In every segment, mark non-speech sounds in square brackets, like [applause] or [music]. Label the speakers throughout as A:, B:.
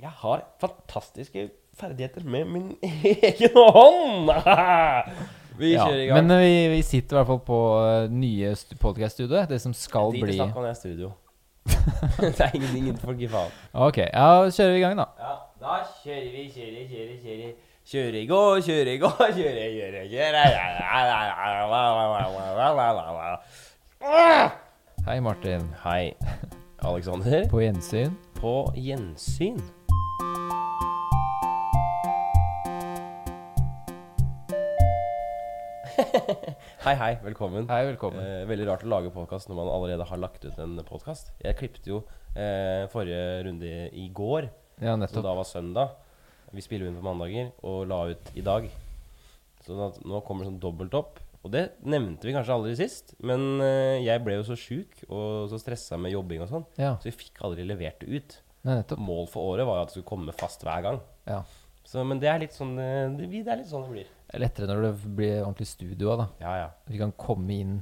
A: Jeg har fantastiske ferdigheter med min [laughs] egen hånd! [laughs] Vi
B: Ja,
A: kjører i gang.
B: men eh, vi, vi sitter i hvert fall på eh, nye podkast-studioet. Det som skal
A: Drit i
B: eh, bli
A: snakk om det er studio. [laughs] det er ingenting innenfor gi faen.
B: Ok, ja, kjører vi i gang, da.
A: Ja, da kjører vi, kjører, kjører, kjører. Kjøre i går, kjøre i går, [laughs] kjøre, kjøre,
B: [laughs]
A: kjøre.
B: Hei, Martin.
A: Hei, Alexander.
B: På gjensyn.
A: På gjensyn. [laughs] hei, hei. Velkommen.
B: Hei, velkommen.
A: Eh, veldig rart å lage podkast når man allerede har lagt ut en podkast. Jeg klippet jo eh, forrige runde i går,
B: Ja,
A: som
B: nettopp.
A: da var søndag. Vi spiller inn på mandager og la ut i dag. Så da, nå kommer det sånn dobbelt opp. Og det nevnte vi kanskje aldri sist, men eh, jeg ble jo så sjuk og så stressa med jobbing og sånn,
B: Ja,
A: så vi fikk aldri levert det ut.
B: Nei, nettopp.
A: Mål for året var at det skulle komme fast hver gang.
B: Ja.
A: Så, men det er litt sånn eh, det, det er litt sånn det blir.
B: Det er lettere når det blir ordentlig studio av, da.
A: Ja, ja.
B: Vi kan komme inn,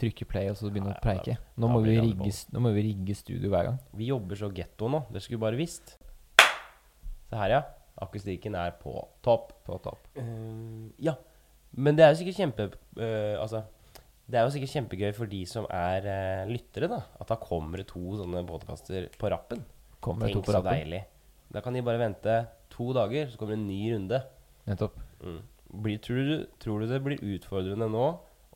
B: trykke play og så begynne
A: Ja,
B: å preike.
A: da
B: Nå må,
A: blir
B: vi
A: det andre
B: rigge, nå må vi rigge studio hver gang.
A: Vi jobber så getto nå. Dere skulle bare visst. Se her, ja. Akustikken er på topp.
B: På topp.
A: Eh, ja. Men det er jo sikkert kjempe... eh, altså Det er jo sikkert kjempegøy for de som er eh, lyttere, da. At da kommer det to sånne podkaster på rappen.
B: Kommer det to
A: Tenk
B: på
A: så
B: rappen.
A: deilig. Da kan de bare vente to dager, så kommer det en ny runde.
B: Nettopp.
A: Mm. Blir, tror, du, tror du det blir utfordrende nå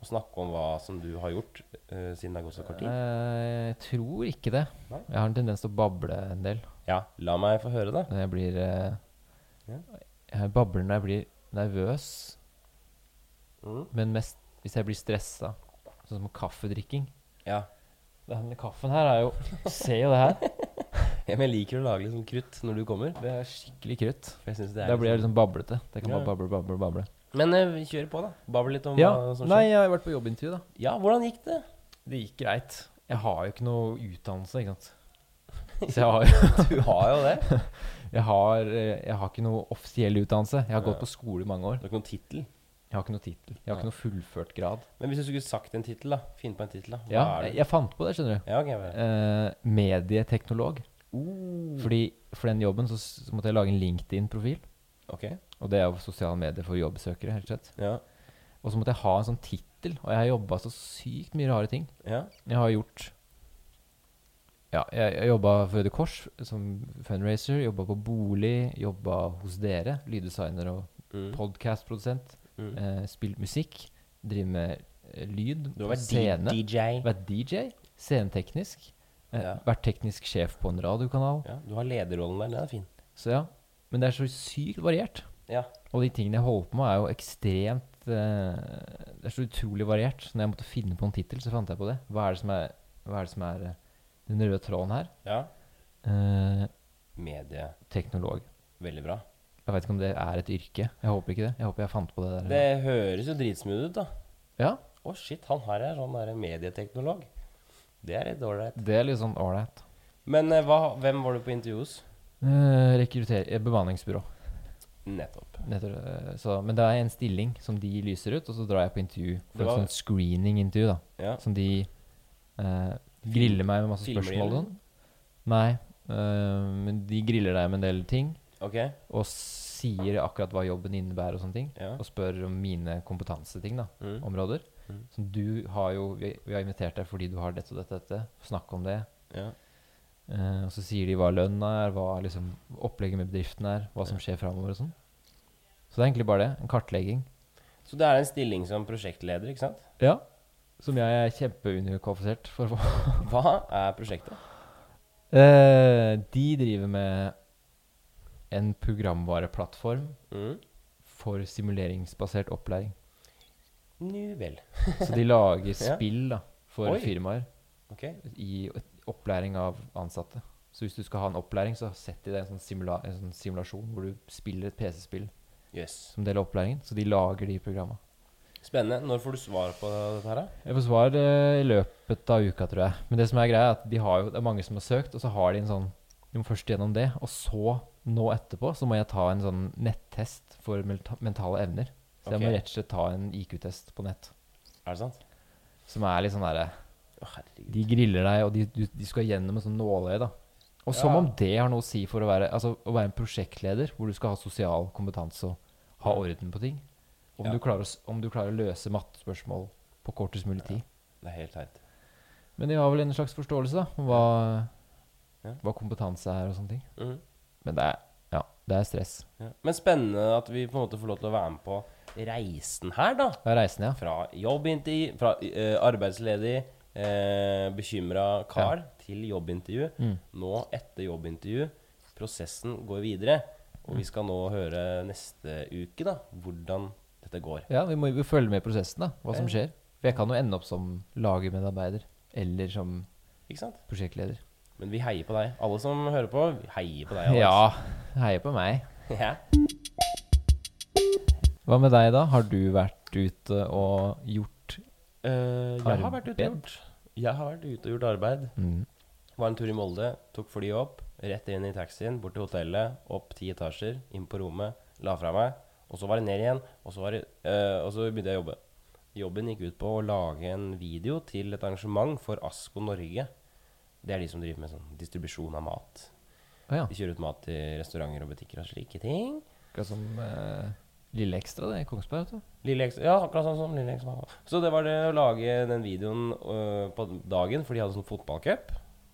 A: å snakke om hva som du har gjort eh, siden det har gått så kort tid?
B: Eh, jeg tror ikke det.
A: Nei.
B: Jeg har en tendens til å bable en del.
A: Ja, la meg få høre det.
B: Når jeg blir eh,
A: Ja.
B: Jeg babler når jeg blir nervøs,
A: Mm.
B: men mest hvis jeg blir stressa. Sånn som kaffedrikking.
A: Ja. [laughs]
B: Denne kaffen her er [laughs] jo Se jo det her.
A: Ja, men jeg liker å lage litt sånn krutt når du kommer.
B: Det er skikkelig krutt.
A: For jeg synes det er
B: Da
A: litt
B: blir jeg liksom bablete. Jeg kan
A: Ja,
B: bare bable, bable, bable.
A: sånn- Men eh, vi kjører på, da. Babel litt om
B: Ja,
A: hva som
B: nei,
A: skjer.
B: jeg har vært på jobbintervju, da.
A: Ja, hvordan gikk
B: [laughs]
A: det?
B: Det gikk greit. Jeg har jo ikke noe utdannelse, ikke sant. [laughs] Så jeg har,
A: Du har jo det. Du
B: jeg har, eh, jeg har ikke noe offisiell utdannelse. Jeg har gått på skole i mange år.
A: har ikke noen tittel.
B: Jeg har ikke noe tittel. Jeg har ikke noe fullført grad.
A: Men hvis du skulle sagt en tittel, da. Finn på en tittel, da. Hva
B: Ja,
A: er
B: jeg,
A: det?
B: jeg fant på det, skjønner du.
A: Ja, ok. hva er det?
B: Eh, medieteknolog. Fordi for den jobben så, s- så måtte jeg lage en LinkedIn-profil.
A: Ok.
B: Og det er jo sosiale medier for jobbsøkere, helt sett.
A: Ja.
B: Og så måtte jeg ha en sånn tittel. Og jeg har jobba så sykt mye rare ting.
A: ja.
B: Jeg har gjort Ja, jeg, jeg jobba for Røde Kors som fundraiser, jobba på bolig, jobba hos dere, lyddesigner og
A: Mm. podcastprodusent. Mm.
B: Eh, spilt musikk, driver med eh, lyd,
A: Du har vært
B: scene.
A: D- DJ.
B: vært DJ, sceneteknisk. Eh,
A: Ja.
B: Vært teknisk sjef på en radiokanal.
A: Ja, du har lederrollen der. Den er fin.
B: Så ja. Men det er så sykt variert.
A: Ja.
B: Og de tingene jeg holder på med, er jo ekstremt eh, Det er så utrolig variert. Så når jeg måtte finne på en tittel, så fant jeg på det. Hva er det som er, hva er, det som er eh, den røde tråden her?
A: ja.
B: Eh,
A: Medie.
B: teknolog.
A: Veldig bra.
B: Jeg vet ikke om det er et yrke. Jeg håper ikke det. Jeg håper jeg fant på det der.
A: Det høres jo dritsmooth ut, da.
B: Ja,
A: Å, shit. Han her er sånn der medieteknolog. Det er litt ålreit.
B: det er litt sånn ålreit.
A: Men eh, hva, hvem var du på intervju hos?
B: Uh, Rekruttere eh, Bemanningsbyrå.
A: Nettopp.
B: Heter, det. så, men det er en stilling som de lyser ut, og så drar jeg på intervju.
A: Det
B: For
A: var-
B: et sånt screening-intervju, da.
A: Ja.
B: Som de eh, griller meg med masse
A: Filmer de,
B: spørsmål og
A: eller?
B: sånn. Nei, eh, men de griller deg med en del ting.
A: Ok.
B: Og sier akkurat hva jobben innebærer og sånne ting.
A: Ja.
B: Og spør om mine kompetanseting, da.
A: Mm.
B: områder.
A: Mm.
B: Så du har jo vi, vi har invitert deg fordi du har dette og dette, dette. Snakk om det.
A: Ja.
B: Eh, og så sier de hva lønna er, hva liksom opplegget med bedriften er, hva som skjer framover og sånn. Så det er egentlig bare det. En kartlegging.
A: Så det er en stilling som prosjektleder, ikke sant?
B: Ja. Som jeg er kjempeunderkvalifisert for å få.
A: Hva er prosjektet?
B: Eh, de driver med en programvareplattform
A: Mm.
B: for simuleringsbasert opplæring.
A: Nu vel.
B: Så de lager
A: [laughs] Ja.
B: spill da, for
A: Oi.
B: firmaer.
A: Ok.
B: i opplæring av ansatte. Så hvis du skal ha en opplæring, så setter de deg i en sånn, simula en sånn simulasjon hvor du spiller et PC-spill
A: Jøss.
B: som del av opplæringen. Så de lager de programma.
A: Spennende. Når får du svar på dette her, da?
B: Jeg får svar eh, i løpet av uka, tror jeg. Men det som er greia, er at de har jo, det er mange som har søkt, og så har de en sånn Du må først gjennom det, og så, nå etterpå, så må jeg ta en sånn nettest for melta- mentale evner. Så jeg må
A: Ok.
B: rett og slett ta en IQ-test på nett,
A: Er det sant?
B: som er litt sånn derre
A: Å, herregud.
B: De griller deg, og de, du, de skal gjennom en sånn nåløye, da. Og som
A: Ja.
B: om det har noe å si for å være, altså, å være en prosjektleder, hvor du skal ha sosial kompetanse og ha orden på ting. Om,
A: Ja.
B: du, klarer å, s- om du klarer å løse mattespørsmål på kortest mulig tid.
A: Det er helt teit.
B: Men de har vel en slags forståelse da, om hva,
A: Ja.
B: hva kompetanse er og sånne ting.
A: Mhm.
B: Men det er, ja, det er stress.
A: Ja. Men spennende at vi på en måte får lov til å være med på reisen her, da.
B: Det er reisen, ja.
A: Fra jobbintervju, fra eh, arbeidsledig, uh, bekymra kar til jobbintervju.
B: Mm.
A: Nå, etter jobbintervju, prosessen går videre. Og
B: Mm.
A: vi skal nå høre neste uke, da, hvordan dette går.
B: Ja, vi må jo følge med i prosessen, da. Hva som
A: Ja.
B: skjer. For jeg kan jo ende opp som lagermedarbeider eller som
A: Ikke sant?
B: prosjektleder.
A: Men vi heier på deg. Alle som hører på, vi heier på deg. Alex.
B: Ja,
A: altså.
B: heier på meg.
A: Ja.
B: Hva med deg, da? Har du vært ute og gjort
A: Eh, jeg har vært ute og
B: Arbeid.
A: gjort Jeg har vært ute og gjort arbeid.
B: mm.
A: Var en tur i Molde, tok flyet opp, rett inn i taxien, bort til hotellet, opp ti etasjer, inn på rommet, la fra meg, og så var det ned igjen, og så, var det, eh, og så begynte jeg å jobbe. Jobben gikk ut på å lage en video til et arrangement for Asko Norge. Det er de som driver med sånn distribusjon av mat.
B: Å ja.
A: De kjører ut mat til restauranter og butikker og slike ting.
B: Akkurat som eh, Lille Ekstra, det, i Kongsberg. vet du.
A: Lille X, ja, akkurat sånn som Lille X. var. Så det var det å lage den videoen øh, på dagen, for de hadde sånn fotballcup.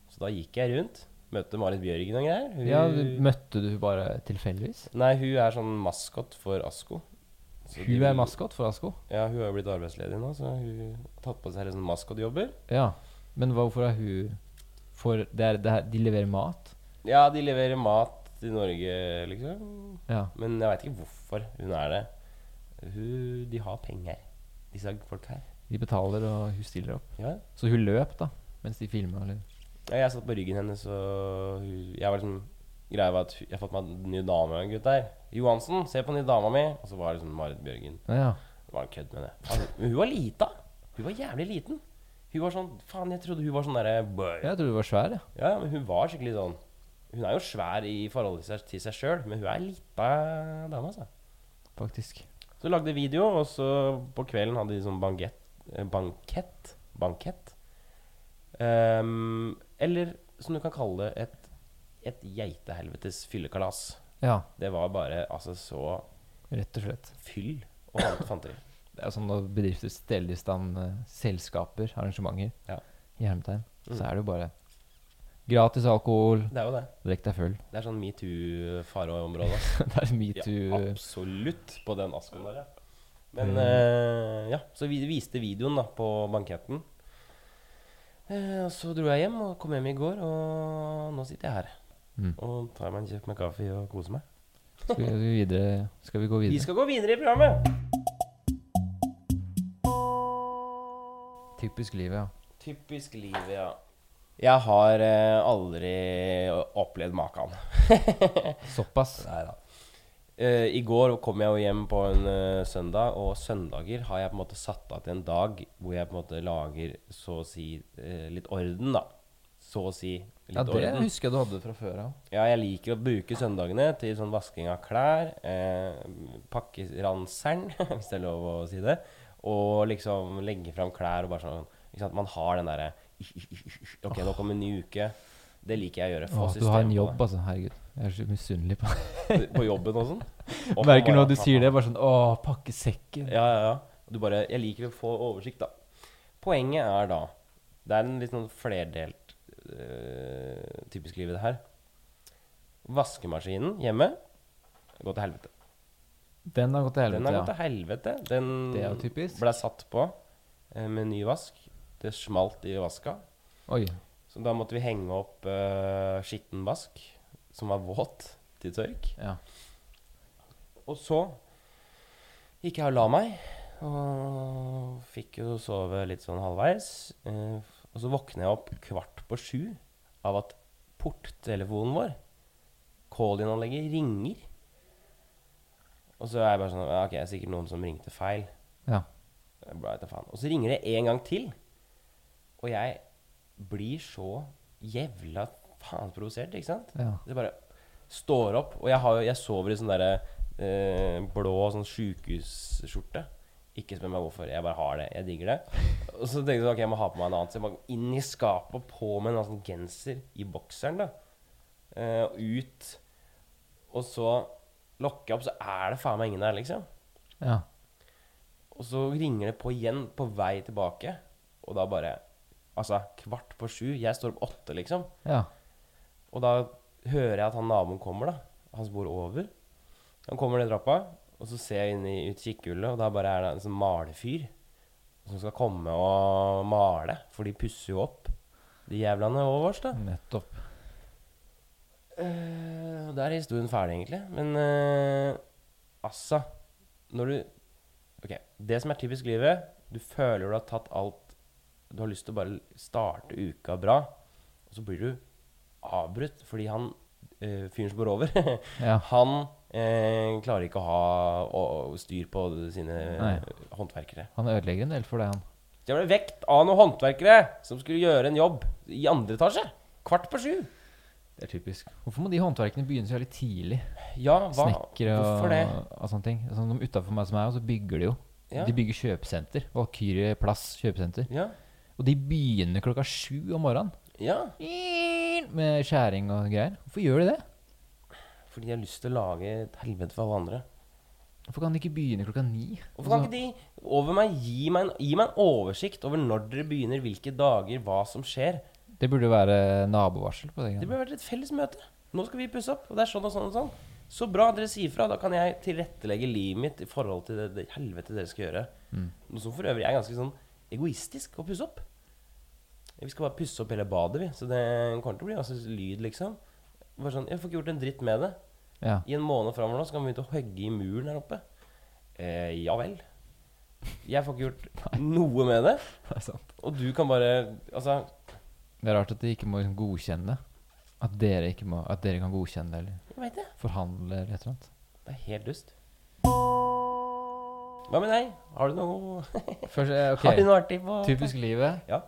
A: Så da gikk jeg rundt, møtte Marit Bjørgen og greier. Hun,
B: Ja, du- Møtte du bare tilfeldigvis?
A: Nei, hun er sånn maskot for Asko. Så de
B: Hun
A: vil-
B: er maskot for Asko.
A: Ja, hun har jo blitt arbeidsledig nå, så hun har tatt på seg sånn maskotjobber.
B: Ja, men hvorfor er hun For det er, det er, de leverer mat?
A: Ja, de leverer mat til Norge, liksom.
B: Ja.
A: Men jeg veit ikke hvorfor hun er det. Hun, de har penger, disse folk her.
B: De betaler, og hun stiller opp.
A: Ja,
B: Så hun løp, da, mens de filma, eller?
A: Ja, Jeg satt på ryggen hennes, og hun- jeg var liksom Greia var at hun- jeg har fått meg en ny dame, en gutt der. Johansen, se på den nye dama mi. Og så var det liksom Marit Bjørgen.
B: Ja, ja.
A: Det var en kødd med det. Altså, men hun var lita. Hun var jævlig liten. Hun var sånn Faen, jeg trodde hun var sånn derre bøy.
B: Jeg trodde du var svær, jeg.
A: Ja, men hun var skikkelig sånn Hun er jo svær i forhold til seg- til seg sjøl, men hun er ei lita dame, altså.
B: faktisk.
A: Så lagde jeg video, og så på kvelden hadde de sånn bangett, eh, bankett Bankett. Ehm, eller som du kan kalle det, et, et geitehelvetes fyllekalas.
B: Ja,
A: Det var bare altså så
B: rett og slett.
A: fyll og alt fanteri.
B: Det er sånn når bedrifter steller i stand eh, selskaper, arrangementer,
A: Ja.
B: i hermetegn,
A: Mm.
B: så er det jo bare gratis alkohol,
A: Det er jo det.
B: drikk deg full. [laughs]
A: Det er sånn metoo-fareområde.
B: det er
A: Ja,
B: metoo. eh,
A: absolutt på den asken der, ja.
B: Mm.
A: Men eh, ja, så vi viste videoen da på banketten. Eh, og så dro jeg hjem og kom hjem i går, og nå sitter jeg her.
B: Mm.
A: Og tar meg en kjøp med kaffe og koser meg.
B: Skal vi, videre, skal vi gå
A: Vi
B: videre?
A: skal gå videre i programmet!
B: Typisk livet, ja.
A: Typisk livet, ja. Jeg har eh, aldri opplevd maken. [laughs]
B: Såpass.
A: Nei da. Eh, I går kom jeg jo hjem på en eh, søndag, og søndager har jeg på en måte satt av til en dag hvor jeg på en måte lager så å si eh, litt orden, da. Så å si litt
B: Ja, det
A: orden.
B: husker jeg du hadde fra før av.
A: Ja, jeg liker å bruke søndagene til sånn vasking av klær, eh, pakkeranseren, [laughs] hvis det er lov å si det, og liksom legge fram klær og bare sånn ikke sant? Man har den derre [laughs] Ok, nå kommer en ny uke. Det liker jeg å gjøre.
B: Å,
A: Få
B: at du har en
A: system på
B: jobb,
A: det.
B: altså. Herregud. Jeg er så misunnelig
A: [laughs]
B: på deg.
A: På jobben og sånn.
B: [laughs]
A: Og
B: Merker
A: mamma,
B: når du
A: pappa.
B: sier det, bare sånn Å, pakke sekken.
A: Ja, ja, ja. Du bare, jeg liker å få oversikt, da. Poenget er da Det er en litt sånn flerdelt øh, typisk liv i det her. Vaskemaskinen hjemme går til helvete.
B: Den har gått til
A: Den har gått
B: helvete,
A: til helvete.
B: ja.
A: Den
B: Det er jo typisk.
A: ble satt på eh, med ny vask. Det smalt i vaska.
B: Oi.
A: Så da måtte vi henge opp eh, skitten vask, som var våt, til tørk.
B: Ja.
A: Og så gikk jeg og la meg, og fikk jo sove litt sånn halvveis. Eh, og så våkner jeg opp kvart på sju av at porttelefonen vår, call-in-anlegget, ringer. Og så er jeg bare sånn ja, Ok, det er sikkert noen som ringte feil.
B: ja.
A: Jeg bare vet da faen. Og så ringer det en gang til. Og jeg blir så jævla faen provosert, ikke sant?
B: Ja.
A: Det bare står opp. Og jeg, har, jo- jeg sover i sånn derre eh, blå sånn sjukehusskjorte. Ikke spør meg hvorfor. Jeg bare har det. Jeg digger det. Og så tenkte jeg ok, jeg må ha på meg en annen. Så jeg må inn i skapet og på med en annen sånn genser i sånn bokseren. da eh, ut, og så lokker jeg opp, så er det faen meg ingen der, liksom.
B: Ja.
A: Og så ringer det på igjen på vei tilbake, og da bare Altså, kvart på sju. Jeg står opp åtte, liksom.
B: Ja.
A: Og da hører jeg at han naboen kommer, da. Han som bor over. Han kommer ned trappa, og så ser jeg inn i ut kikkhullet, og da bare er det en sånn malefyr som skal komme og male, for de pusser jo opp de jævlene over oss, da.
B: Nettopp.
A: Eh, Og der er historien ferdig, egentlig. Men eh, altså Når du Ok, det som er typisk livet Du føler du har tatt alt Du har lyst til å bare starte uka bra, og så blir du avbrutt fordi han eh, fyren som går over,
B: Ja.
A: [laughs] han eh, klarer ikke å ha å, å, styr på sine
B: Nei.
A: håndverkere.
B: Han ødelegger en del for det, han.
A: Så jeg ble vekt av noen håndverkere som skulle gjøre en jobb i andre etasje. Kvart på sju.
B: Det er typisk. Hvorfor må de håndverkene begynne så jævlig tidlig?
A: Ja, hva?
B: Snekkere og,
A: Hvorfor det?
B: og sånne ting. Sånn de Utafor meg som er, og så bygger de jo.
A: Ja.
B: De bygger kjøpesenter. Valkyrie Plass kjøpesenter.
A: Ja.
B: Og de begynner klokka sju om morgenen.
A: ja.
B: Med skjæring og greier. Hvorfor gjør de det?
A: Fordi de har lyst til å lage et helvete for alle andre.
B: Hvorfor kan de ikke begynne klokka ni?
A: Hvorfor kan ikke de over meg gi meg, en, gi meg en oversikt over når dere begynner, hvilke dager, hva som skjer?
B: Det burde jo være nabovarsel på det.
A: Det
B: greiene.
A: burde vært et felles møte. Nå skal vi pusse opp, og det er sånn og sånn og sånn. Så bra at dere sier fra. Da kan jeg tilrettelegge livet mitt i forhold til det, det helvete dere skal gjøre. Noe som for øvrig er ganske sånn egoistisk å pusse opp. Vi skal bare pusse opp hele badet, vi. Så det kommer til å bli ganske lyd, liksom. Bare sånn, Jeg får ikke gjort en dritt med det.
B: Ja.
A: I en måned framover nå så kan vi begynne å hogge i muren her oppe. Eh, ja vel. Jeg får ikke gjort noe med [laughs] det.
B: Det er sant.
A: Og du kan bare Altså,
B: Det er rart at de ikke må liksom godkjenne det. At dere, ikke må, at dere kan godkjenne det, eller
A: jeg veit det.
B: forhandle eller et eller annet.
A: Det er helt dust. Hva med deg? Har du noe
B: Først, eh, ok.
A: Har du noe artig på
B: Typisk livet.
A: Ja.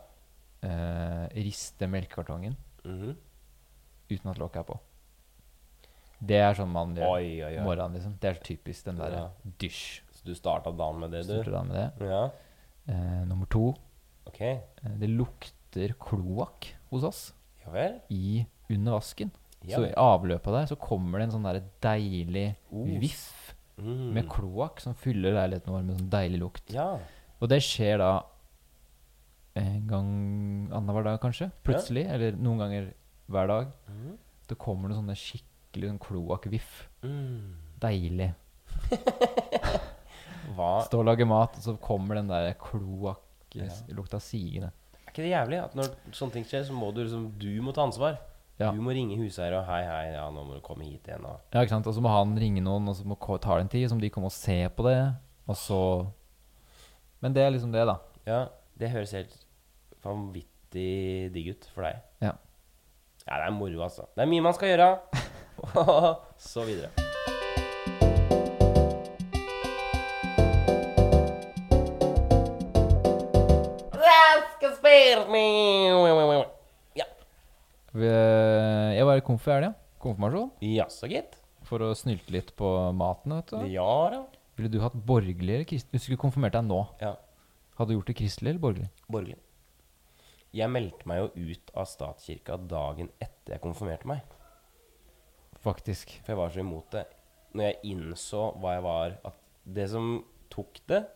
B: Eh, riste melkekartongen
A: Mhm.
B: uten at lokket er på. Det er sånn man gjør
A: Oi, oi,
B: om
A: oi.
B: morgenen, liksom. Det er så typisk den derre
A: Ja.
B: dysj.
A: Så du starta dagen med det,
B: Starter
A: du?
B: da med det.
A: Ja.
B: Eh, nummer to.
A: OK.
B: Eh, det lukter kloakk hos oss
A: Ja vel.
B: i under vasken.
A: Ja.
B: Så i avløpet der så kommer det en sånn derre deilig
A: Os.
B: viff
A: Mm.
B: med kloakk som fyller leiligheten vår med sånn deilig lukt.
A: Ja.
B: Og det skjer da en gang annenhver dag, kanskje. Plutselig. Eller noen ganger hver dag.
A: Mhm.
B: Det kommer noen sånne skikkelig sånn kloakkviff.
A: Mm.
B: Deilig.
A: Hva
B: Stå og lage mat, og så kommer den der
A: Ja.
B: kloakklukta sigende.
A: Er ikke det jævlig at når sånne ting skjer, så må du liksom Du må ta ansvar.
B: Ja.
A: Du må ringe huseier og 'hei, hei, ja, nå må du komme hit igjen', og
B: Ja, ikke sant? Og så må han ringe noen, og så må, ko- tar det en tid, så må de komme og se på det, og så Men det er liksom det, da.
A: Ja, det høres helt vanvittig digg ut for deg.
B: Ja.
A: Ja, det er moro, altså. Det er mye man skal gjøre. [laughs] Og så videre. Raske spil! Ja.
B: Vi- Jeg var i konf i helga. Konfirmasjon.
A: Jaså, gitt.
B: For å snylte litt på maten, vet du.
A: Ja da.
B: Ville du hatt borgerlig eller kristelig? Hvis du skulle konfirmert deg nå,
A: Ja.
B: hadde du gjort det kristelig eller borgerlig?
A: Borgerlig. Jeg meldte meg jo ut av statskirka dagen etter jeg konfirmerte meg.
B: Faktisk.
A: For jeg var så imot det. Når jeg innså hva jeg var At det som tok det,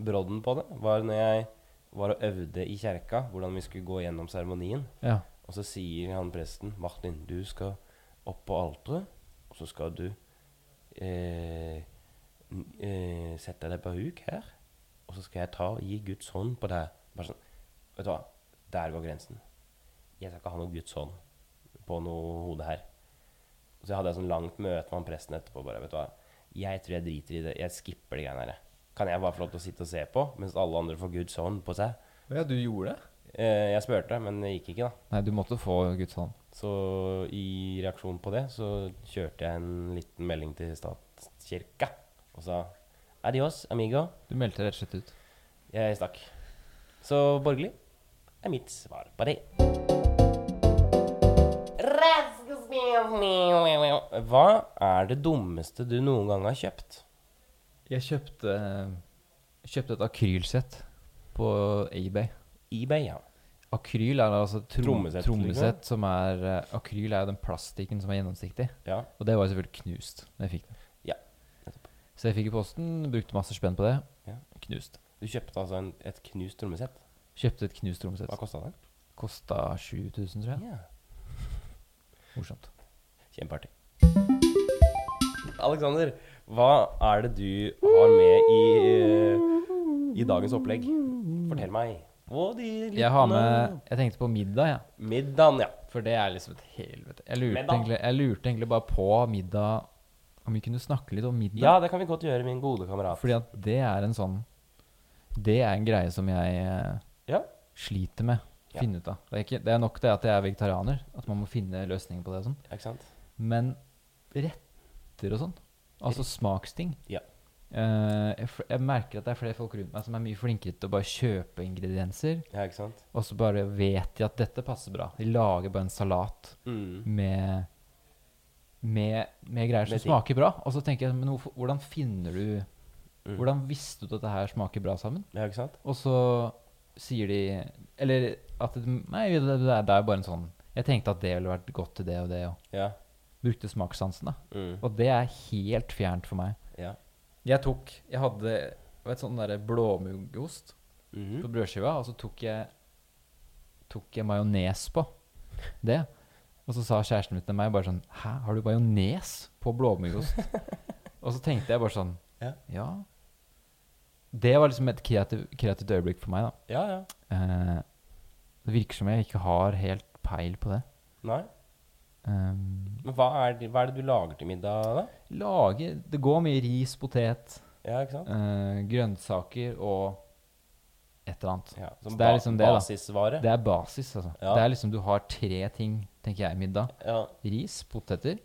A: brodden på det, var når jeg var og øvde i kjerka hvordan vi skulle gå gjennom seremonien.
B: Ja.
A: Og så sier han presten, Martin, du skal opp på alteret, og så skal du eh, n- eh, sette deg på huk her, og så skal jeg ta og gi Guds hånd på deg. Bare sånn, vet du hva, der går grensen. Jeg skal ikke ha noe Guds hånd på noe hode her. Og så hadde jeg sånn langt møte med han presten etterpå, bare, vet du hva, jeg tror jeg driter i det, jeg skipper de greiene her. Kan jeg bare få lov til å sitte og se på, mens alle andre får Guds hånd på seg?
B: Ja, du gjorde det?
A: Eh, jeg spurte, men det gikk ikke da.
B: Nei, du måtte få Guds hånd.
A: Så i reaksjon på det så kjørte jeg en liten melding til statskirka og sa adios, amigo.
B: Du meldte rett og slett ut.
A: Jeg stakk. Så borgerlig er mitt svar på det. Hva er det dummeste du noen gang har kjøpt?
B: Jeg kjøpte Kjøpte et akrylsett på eBay.
A: eBay, ja.
B: Akryl er altså trom,
A: Trommesett,
B: trommesett,
A: liksom.
B: som er eh, Akryl er jo den plastikken som er gjennomsiktig.
A: Ja.
B: Og det var jo selvfølgelig knust da jeg fikk det.
A: Ja.
B: Så jeg fikk i posten, brukte masse spenn på det.
A: Ja.
B: Knust.
A: Du kjøpte altså en, et knust trommesett.
B: Kjøpte et knust trommesett.
A: Hva kosta det?
B: Kosta 7000, tror jeg.
A: Ja.
B: Morsomt.
A: Kjempeartig. Alexander, hva er det du har med i, eh, i dagens opplegg? Fortell meg. Og de lyttende.
B: Jeg har med Jeg tenkte på middag, jeg. Ja.
A: Middagen, ja.
B: For det er liksom et helvete. Jeg lurte,
A: Middag.
B: egentlig, jeg lurte egentlig bare på middag Om vi kunne snakke litt om middag.
A: Ja, det kan vi godt gjøre, min gode kamerat.
B: Fordi at det er en sånn Det er en greie som jeg eh,
A: Ja.
B: sliter med.
A: Ja.
B: Finne ut av. Det er, ikke, det er nok det at jeg er vegetarianer, at man må finne løsninger på det. og sånn.
A: Ikke sant?
B: Men retter og sånn, altså smaksting
A: Ja.
B: eh, jeg, f- jeg merker at det er flere folk rundt meg som er mye flinkere til å bare kjøpe ingredienser,
A: Ja, ikke sant?
B: og så bare vet de at dette passer bra. De lager bare en salat
A: Mm.
B: med med, med greier som
A: Med ting.
B: smaker bra. Og så tenker jeg, men hvorfor, hvordan finner du
A: Mm.
B: Hvordan visste du at dette her smaker bra sammen?
A: Ja, ikke sant?
B: Og så sier de Eller at det, Nei, det, det, er, det er bare en sånn Jeg tenkte at det ville vært godt til det og det, og
A: Ja.
B: brukte smakssansen, da.
A: Mm.
B: Og det er helt fjernt for meg.
A: Ja.
B: Jeg tok Jeg hadde et sånn derre blåmuggost på
A: Mhm.
B: brødskiva, og så tok jeg Tok jeg majones på det. Og så sa kjæresten min til meg bare sånn Hæ, har du majones på blåmuggost?
A: [laughs]
B: og så tenkte jeg bare sånn
A: Ja.
B: ja. Det var liksom et kreativ, kreativt øyeblikk for meg, da.
A: ja, ja.
B: Eh, det virker som jeg ikke har helt peil på det.
A: Nei.
B: Um,
A: Men hva er, det, hva er det du lager til middag, da?
B: lage Det går mye ris, potet,
A: Ja, ikke sant?
B: eh, grønnsaker og et eller annet.
A: Ja, som
B: Så det er
A: ba-
B: liksom det, da.
A: basisvare.
B: Det er basis, altså.
A: Ja.
B: Det er liksom Du har tre ting, tenker jeg, i middag.
A: Ja,
B: Ris, poteter,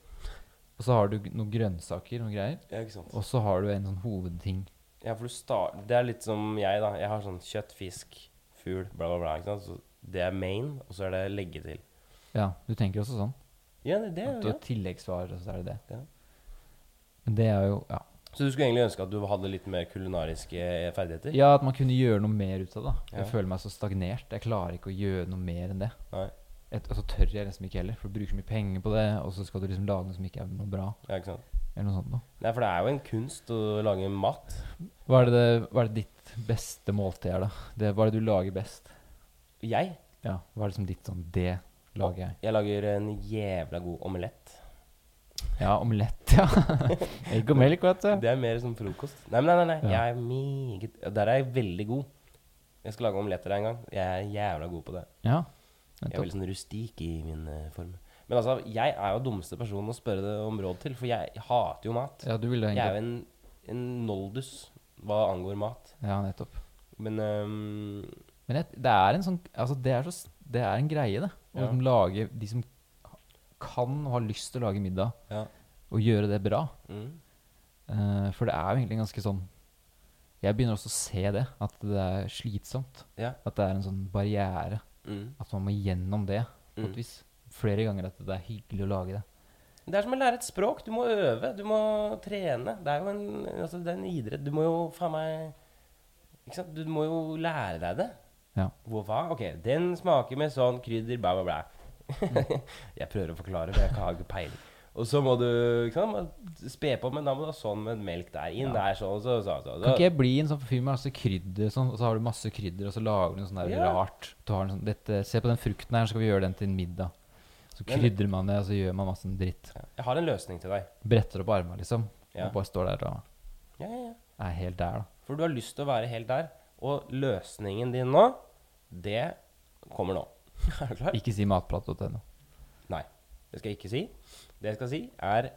B: og så har du g- noen grønnsaker, noen greier.
A: ja, ikke sant?
B: Og så har du en sånn hovedting.
A: Ja, for du star Det er litt som jeg, da. Jeg har sånn kjøtt, fisk, fugl, bla, bla, bla. Ikke sant? Så det er main, og så er det legge til.
B: Ja, du tenker også sånn.
A: Ja, det, det
B: At
A: er
B: du
A: jo
B: har tilleggsvarer, og så er det det.
A: Ja.
B: Men det er jo Ja.
A: Så du skulle egentlig ønske at du hadde litt mer kulinariske eh, ferdigheter?
B: Ja, at man kunne gjøre noe mer ut av det. da. Jeg
A: Ja.
B: føler meg så stagnert. Jeg klarer ikke å gjøre noe mer enn det.
A: Nei.
B: Et, og så tør jeg liksom ikke heller, for du bruker så mye penger på det, og så skal du liksom lage noe som ikke er noe bra.
A: Ja, ikke sant?
B: Eller noe sånt noe.
A: Nei, for det er jo en kunst å lage mat.
B: Hva er, det, hva er det ditt beste måltid er, da? Det, hva er det du lager best?
A: Jeg
B: Ja, Hva er det som ditt sånn Det lager jeg.
A: jeg lager en jævla god omelett.
B: Ja, omelett, ja. [laughs] Egg og melk, vet du.
A: Det er mer som frokost. Nei, men nei, nei, nei.
B: Ja.
A: jeg er meget Der er jeg veldig god. Jeg skal lage omeletter en gang. Jeg er jævla god på det.
B: Ja.
A: Jeg er
B: Nettopp.
A: veldig sånn rustik i min eh, form. Men altså, jeg er jo dummeste personen å spørre det om råd til, for jeg hater jo mat.
B: Ja, du ville
A: Jeg er
B: egentlig
A: jo en, en noldus hva angår mat.
B: Ja, nettopp.
A: Men ehm,
B: Men jeg, det er en sånn Altså, det er, så, s- det er en greie, det. Å
A: Ja.
B: liksom lage De som kan og har lyst til å lage middag,
A: ja.
B: og gjøre det bra.
A: Mm.
B: Eh, for det er jo egentlig ganske sånn Jeg begynner også å se det, at det er slitsomt.
A: Ja.
B: At det er en sånn barriere.
A: Mm.
B: At man må gjennom det på
A: Mm.
B: et vis. Flere ganger at det er hyggelig å lage det.
A: Det er som å lære et språk. Du må øve, du må trene. Det er jo en, altså, det er en idrett. Du må jo faen meg Ikke sant? Du må jo lære deg det.
B: Ja.
A: Hvor hva? Ok, den smaker med sånn krydder, bla, bla, bla. [laughs] jeg prøver å forklare, men jeg har ikke peiling. Og så må du ikke sant, må spe på, men da må du ha sånn med melk der. Inn der, sånn, så, så, så.
B: Kan
A: så.
B: ikke jeg bli en sånn fyr med masse krydder, og sånn, og så har du masse krydder, og så lager du noe sånn der
A: Ja.
B: rart. Du har en sånn, dette, se på den frukten her, så skal vi gjøre den til en middag. Så
A: Men-
B: krydrer man det, og så gjør man masse sånn dritt.
A: Jeg har en løsning til deg.
B: Bretter opp armene, liksom.
A: Ja.
B: Og bare står der og
A: Ja, ja, ja.
B: er helt der, da.
A: For du har lyst til å være helt der. Og løsningen din nå, det kommer nå. [laughs] er du klar?
B: Ikke si matprat.no.
A: Nei, det skal jeg ikke si. Det jeg skal si, er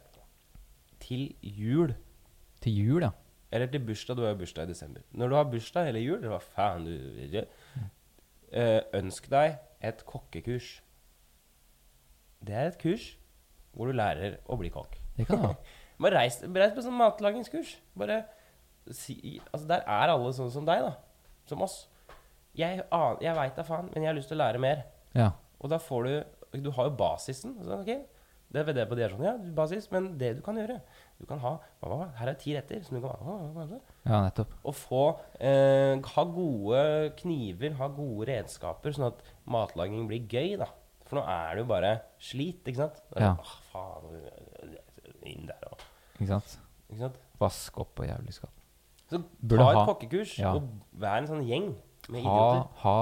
A: til jul,
B: Til jul, ja.
A: eller til bursdag, du har jo bursdag i desember. Når du har bursdag eller jul, eller hva faen du Eh, Ønsk deg et kokkekurs. Det er et kurs hvor du lærer å bli kokk.
B: Det kan det være.
A: [laughs] Bare reis, reis på sånn matlagingskurs. Bare si Altså, der er alle sånn som deg, da. Som oss. Jeg, an- jeg veit da faen, men jeg har lyst til å lære mer.
B: Ja.
A: Og da får du Du har jo basisen. Så, ok, Det er det på det er sånn, ja, basis, men det du kan gjøre Du kan ha hva, hva, Her er ti retter som du kan ha. hva, hva, hva,
B: Ja, nettopp.
A: Å få eh, Ha gode kniver, ha gode redskaper, sånn at matlaging blir gøy, da. For nå er det jo bare slit, ikke sant? Det er
B: Ja.
A: sånn, Åh, faen Inn der og
B: Ikke sant?
A: Ikke sant?
B: Vask opp og jævlig skap.
A: Så
B: Burde
A: ta et
B: ha-
A: kokkekurs,
B: ja.
A: og vær en sånn gjeng med
B: Ha,
A: idioter.
B: ha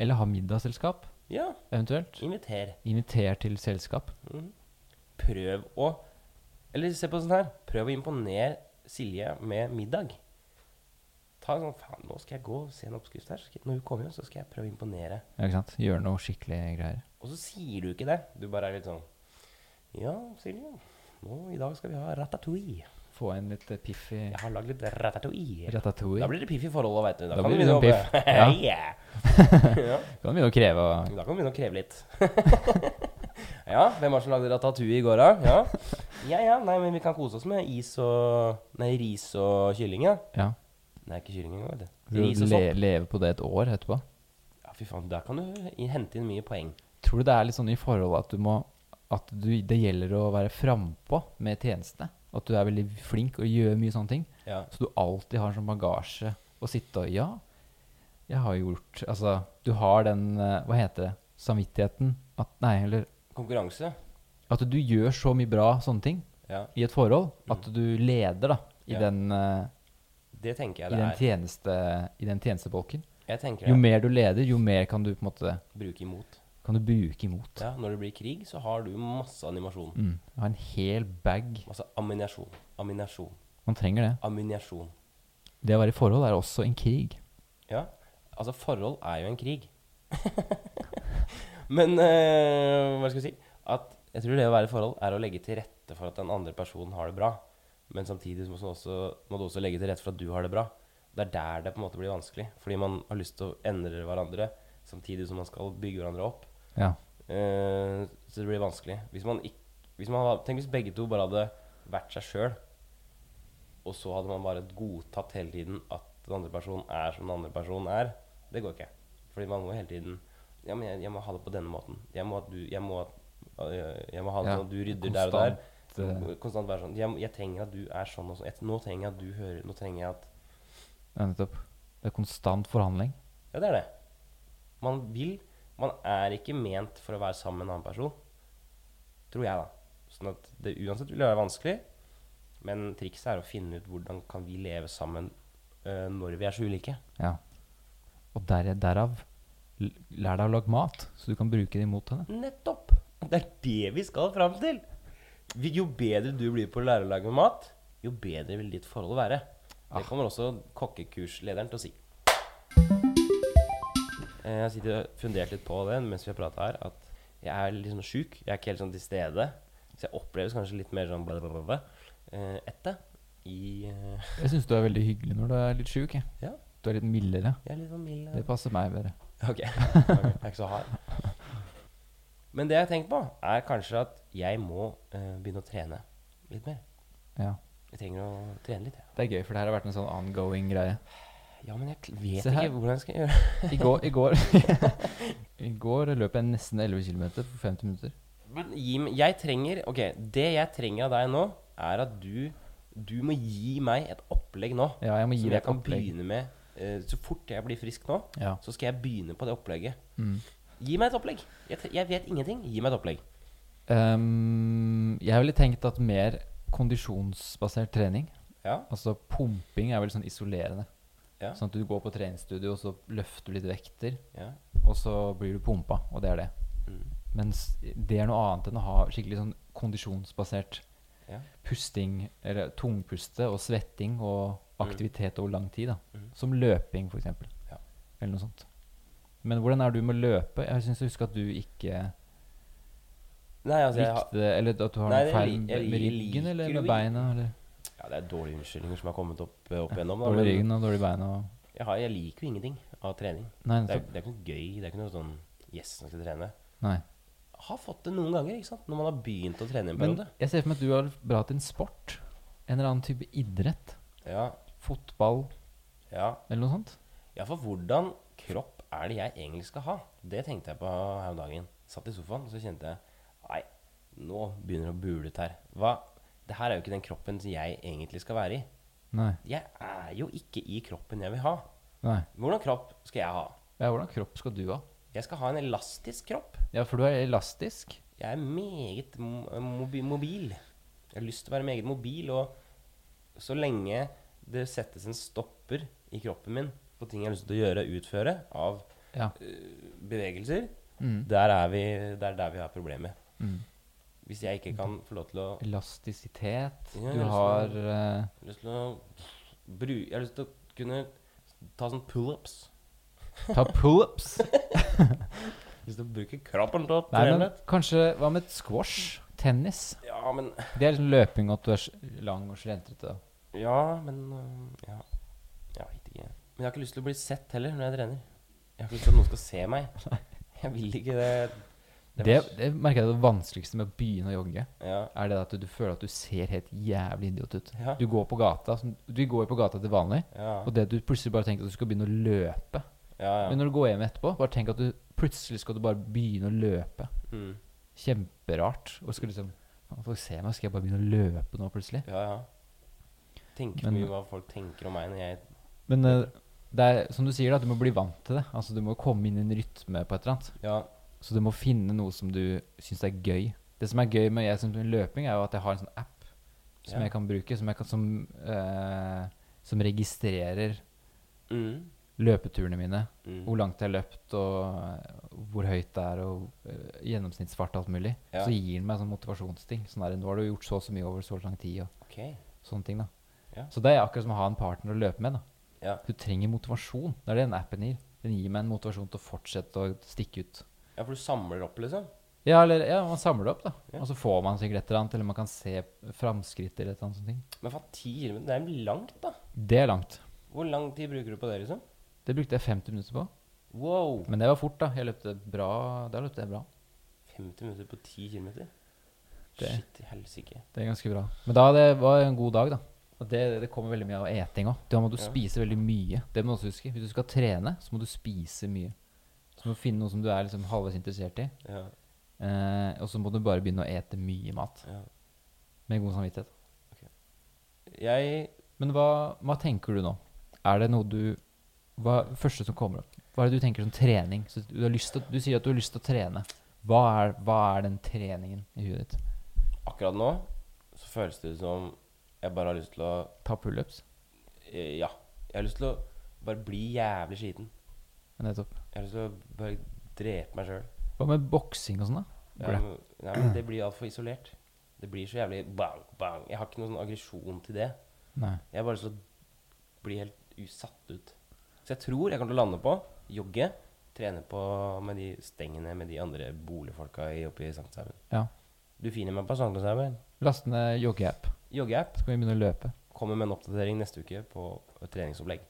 B: Eller ha middagsselskap,
A: Ja.
B: eventuelt.
A: Inviter.
B: Inviter til selskap.
A: Prøv å Eller se på sånn her. Prøv å imponere Silje med middag. Ta sånn Faen, nå skal jeg gå og se en oppskrift her. så skal jeg- Når hun kommer hjem, så skal jeg prøve å imponere.
B: Ja, ikke sant? Gjøre noe skikkelig greier.
A: Og så sier du ikke det. Du bare er litt sånn Ja, Silje. Nå, I dag skal vi ha ratatouille.
B: Få inn litt eh, piff i
A: Jeg har lagd litt ratatouille. Da
B: ratatouille.
A: blir det piff i forholdet, veit du. Da,
B: Da
A: kan du
B: blir det
A: begynne å
B: sånn piff.
A: Ja. [laughs] ja.
B: Kan begynne å kreve å
A: Da kan du begynne å kreve litt. [laughs] ja, hvem var det som lagde ratatouille i går, da? Ja. ja ja, nei, men vi kan kose oss med is og Nei, ris og kylling, ja.
B: Ja.
A: Nei, ikke kylling engang, vet du.
B: Le,
A: Ris og sopp.
B: leve på det et år etterpå.
A: Ja, fy faen, der kan du i- hente inn mye poeng.
B: Tror du det er litt sånn i forhold at du må At du, det gjelder å være frampå med tjenestene? At du er veldig flink og gjør mye sånne ting?
A: Ja.
B: Så du alltid har en sånn bagasje å sitte og Ja, jeg har gjort Altså, du har den eh, Hva heter det? Samvittigheten? At, nei, eller
A: Konkurranse.
B: At du gjør så mye bra sånne ting
A: Ja,
B: i et forhold at du leder, da, i
A: Mm. Ja.
B: den, eh,
A: det tenker jeg
B: i
A: det
B: den,
A: er.
B: tjeneste, i den tjenestebolken.
A: Jeg tenker
B: Jo
A: det.
B: mer du leder, jo mer kan du på en måte
A: Bruke imot.
B: Kan du bruke imot.
A: Ja, når det blir krig, så har du masse animasjon.
B: Mm. Ha en hel bag.
A: Masse aminasjon. Aminasjon.
B: Man trenger det.
A: Aminasjon.
B: Det å være i forhold er også en krig.
A: Ja. Altså, forhold er jo en krig. Men eh, hva skal jeg si? At jeg tror det å være i forhold er å legge til rette for at den andre personen har det bra. Men samtidig så må, du også, må du også legge til rette for at du har det bra. Det er der det på en måte blir vanskelig. Fordi man har lyst til å endre hverandre samtidig som man skal bygge hverandre opp.
B: Ja.
A: Eh, så det blir vanskelig. Hvis man ikk, hvis man hadde, tenk hvis begge to bare hadde vært seg sjøl, og så hadde man bare godtatt hele tiden at den andre personen er som den andre personen er. Det går ikke. Fordi man må hele tiden Ja, men jeg, jeg må ha det på denne måten. Jeg må at du Jeg må, at, øh, jeg må ha det
B: Ja,
A: sånn at du rydder der og der.
B: Konstant. eh,
A: Konstant være sånn jeg, jeg trenger at du er sånn og sånn. Jeg- Nå trenger jeg at du hører Nå trenger jeg at
B: Ja, nettopp. Det er konstant forhandling.
A: Ja, det er det. Man vil Man er ikke ment for å være sammen med en annen person. Tror jeg, da. Sånn at det uansett vil være vanskelig. Men trikset er å finne ut hvordan kan vi leve sammen øh, når vi er så ulike.
B: Ja. Og der, derav l- lær deg å lage mat, så du kan bruke det imot henne.
A: Nettopp! Det er det vi skal fram til. Vi- Jo bedre du blir på å lære å lage mat, jo bedre vil ditt forhold være. Det kommer også kokkekurslederen til å si. Eh, Jeg har sittet og fundert litt på det mens vi har prata her, at jeg er litt sånn sjuk. Jeg er ikke helt sånn til stede. Så jeg oppleves kanskje litt mer sånn blablabla eh, etter. I eh,
B: Jeg syns du er veldig hyggelig når du er litt sjuk. jeg.
A: Ja.
B: Du er litt mildere.
A: Jeg er litt sånn mild. eh.
B: Det passer meg bedre.
A: [laughs] Ok. ok, Jeg er ikke så hard. Men det jeg har tenkt på, er kanskje at jeg må eh, begynne å trene litt mer.
B: Ja.
A: Jeg trenger å trene litt. jeg.
B: Det er gøy, for det her har vært en sånn ongoing greie.
A: Ja, men jeg kl- vet
B: Se her.
A: ikke hvordan jeg skal gjøre
B: I går, i går, [laughs] I går løp jeg nesten 11 km på 50 minutter.
A: Men gi meg Jeg trenger Ok, det jeg trenger av deg nå, er at du Du må gi meg et opplegg nå.
B: Ja, jeg må gi
A: Som jeg
B: deg et
A: kan
B: opplegg.
A: begynne med eh, så fort jeg blir frisk nå.
B: Ja.
A: Så skal jeg begynne på det opplegget.
B: Mm.
A: Gi meg et opplegg. Jeg, tre jeg vet ingenting. Gi meg et opplegg.
B: Ehm, jeg ville tenkt at mer kondisjonsbasert trening,
A: Ja.
B: altså pumping, er veldig sånn isolerende.
A: Ja.
B: Sånn at du går på treningsstudio, og så løfter du litt vekter,
A: ja.
B: og så blir du pumpa, og det er det.
A: Mm.
B: Mens det er noe annet enn å ha skikkelig sånn kondisjonsbasert
A: Ja.
B: pusting, eller tungpuste og svetting og aktivitet over lang tid, da.
A: Mhm.
B: Som løping, for eksempel.
A: Mm. Ja.
B: Eller noe sånt. Men hvordan er du med å løpe? Jeg syns jeg husker at du ikke
A: Nei, altså, jeg har
B: likte det, eller at du har
A: Nei,
B: noe
A: det
B: feil
A: li-
B: med
A: jeg
B: med
A: liker
B: ryggen eller
A: jo
B: med
A: ikke-
B: beina? Eller?
A: Ja, det er dårlige unnskyldninger som har kommet opp, eh, opp
B: Ja,
A: igjennom. da,
B: Dårlig
A: men
B: ryggen og dårlig beina og
A: Jeg, har, jeg liker jo ingenting av trening.
B: Nei,
A: Det er,
B: nettopp.
A: det er ikke noe gøy. Det er ikke noe sånn Yes, nå skal jeg trene.
B: Nei.
A: Jeg har fått det noen ganger, ikke sant? når man har begynt å trene i en
B: Men
A: periode.
B: jeg ser for meg at du er bra til en sport. En eller annen type idrett.
A: Ja,
B: Fotball
A: ja.
B: eller noe sånt.
A: ja, for hvordan kropp er det jeg egentlig skal ha? Det tenkte jeg på her om dagen. Satt i sofaen, og så kjente jeg Nei, Nå begynner det å bule ut her. Hva? Det her er jo ikke den kroppen som jeg egentlig skal være i.
C: Nei.
A: Jeg er jo ikke i kroppen jeg vil ha.
C: Nei.
A: Hvordan kropp skal jeg ha?
B: Ja, hvordan kropp skal du ha?
A: Jeg skal ha en elastisk kropp.
B: Ja, for du er elastisk.
A: Jeg er meget mo- mobi- mobil. Jeg har lyst til å være meget mobil, og så lenge det settes en stopper i kroppen min på ting jeg har lyst til å gjøre, utføre, av
B: Ja.
A: øh, bevegelser,
C: Mm.
A: der er vi, det er der vi har problemet.
C: Mm.
A: Hvis jeg ikke kan få lov til å,
B: Elastisitet.
A: Ja,
B: Du
A: altså-
B: har eh,
A: lyst til å bru, Jeg har lyst til å kunne ta sånn pull-ups. [laughs]
B: Ta pull-ups.
A: Lyst til å bruke kroppen til å
B: Nei, men
A: trene.
B: kanskje Hva med squash? Tennis?
A: Ja, men
B: Det er liksom løping og at du er s- lang og slentrete.
A: Ja, men øh, Ja. Jeg vet ikke. Men jeg har ikke lyst til å bli sett heller når jeg trener. Jeg har ikke lyst til at noen skal se meg.
B: [laughs]
A: Jeg vil ikke det.
B: Det,
A: det
B: det,
A: var-
B: merker jeg er det vanskeligste med å begynne å jogge.
A: ja.
B: Er det at du, du føler at du ser helt jævlig idiot ut.
A: Ja.
B: Du går på gata som- Du går jo på gata til vanlig,
A: Ja.
B: og det du plutselig bare tenker at du skal begynne å løpe
A: ja, ja.
B: Men når du går hjem etterpå, bare tenk at du plutselig skal du bare begynne å løpe.
A: Mm.
B: Kjemperart. Og skal liksom "Faen, Folk ser meg, skal jeg bare begynne å løpe nå plutselig?
A: ja, ja. Tenker
B: Men-
A: mye hva folk tenker om meg når jeg
B: Men eh, det er som du sier, da, at du må bli vant til det. Altså Du må komme inn i en rytme på et eller annet.
A: Ja.
B: Så du må finne noe som du syns er gøy. Det som er gøy med jeg synes med løping, er jo at jeg har en sånn app som
A: Ja.
B: jeg kan bruke, som, jeg kan, som, eh, som registrerer
A: Mm.
B: løpeturene mine.
A: Mm.
B: Hvor langt jeg har løpt, og eh, hvor høyt det er, og eh, gjennomsnittsfart og alt mulig.
A: Ja.
B: Så gir den meg sånn motivasjonsting. Sånn der, 'Nå har du gjort så og så mye over så lang tid', og
A: Ok.
B: sånne ting. da.
A: Ja.
B: Så det er akkurat som å ha en partner å løpe med. da.
A: Ja.
B: Du trenger motivasjon. Det er det den appen gir. Den gir meg en motivasjon til å fortsette å stikke ut.
A: ja, for du samler opp, liksom?
B: Ja, eller ja, man samler det opp, da.
A: Ja.
B: Og så får man sikkert et eller annet, eller man kan se framskritt eller et eller annet sånt. ting.
A: Men faen, ti kilometer, det er jo langt, da.
B: Det er langt.
A: Hvor lang tid bruker du på det, liksom?
B: Det brukte jeg 50 minutter på.
A: Wow!
B: Men det var fort, da. Jeg løpte bra. Da løpte jeg bra.
A: 50 minutter på 10 kilometer?
B: Det-
A: Shit i helsike.
B: Det er ganske bra. Men da det var en god dag, da. Og det, det kommer veldig mye av eting òg. Da må du
A: Ja.
B: spise veldig mye. Det må du også huske. Hvis du skal trene, så må du spise mye. Så må du finne noe som du er liksom halvveis interessert i.
A: Ja.
B: Eh, og så må du bare begynne å ete mye mat.
A: ja.
B: Med god samvittighet.
A: Jeg
B: Men hva, hva tenker du nå? Er det noe du Hva er det første som kommer opp? Hva er det du tenker som trening? Så du, har lyst til, å- du sier at du har lyst til å trene. Hva er, hva er den treningen i huet ditt?
A: Akkurat nå så føles det som jeg bare har lyst til å
B: Ta pullups?
A: eh, Ja. Jeg har lyst til å bare bli jævlig sliten.
B: Nettopp.
A: Jeg har lyst til å bare drepe meg sjøl.
B: Hva med boksing og sånn, da?
A: Ja, men- nei, men det blir altfor isolert. Det blir så jævlig bang, bang. Jeg har ikke noen sånn aggresjon til det.
B: Nei.
A: Jeg har bare lyst til å bli helt usatt ut. Så jeg tror jeg kommer til å lande på jogge, trene på med de stengene med de andre boligfolka i- oppe i Sankthanshaugen.
B: Ja.
A: Du finner meg på Sankthanshaugen.
B: Laste ned joggeapp.
A: Joggeapp.
B: Så kan vi begynne å løpe.
A: Kommer med en oppdatering neste uke på et treningsopplegg.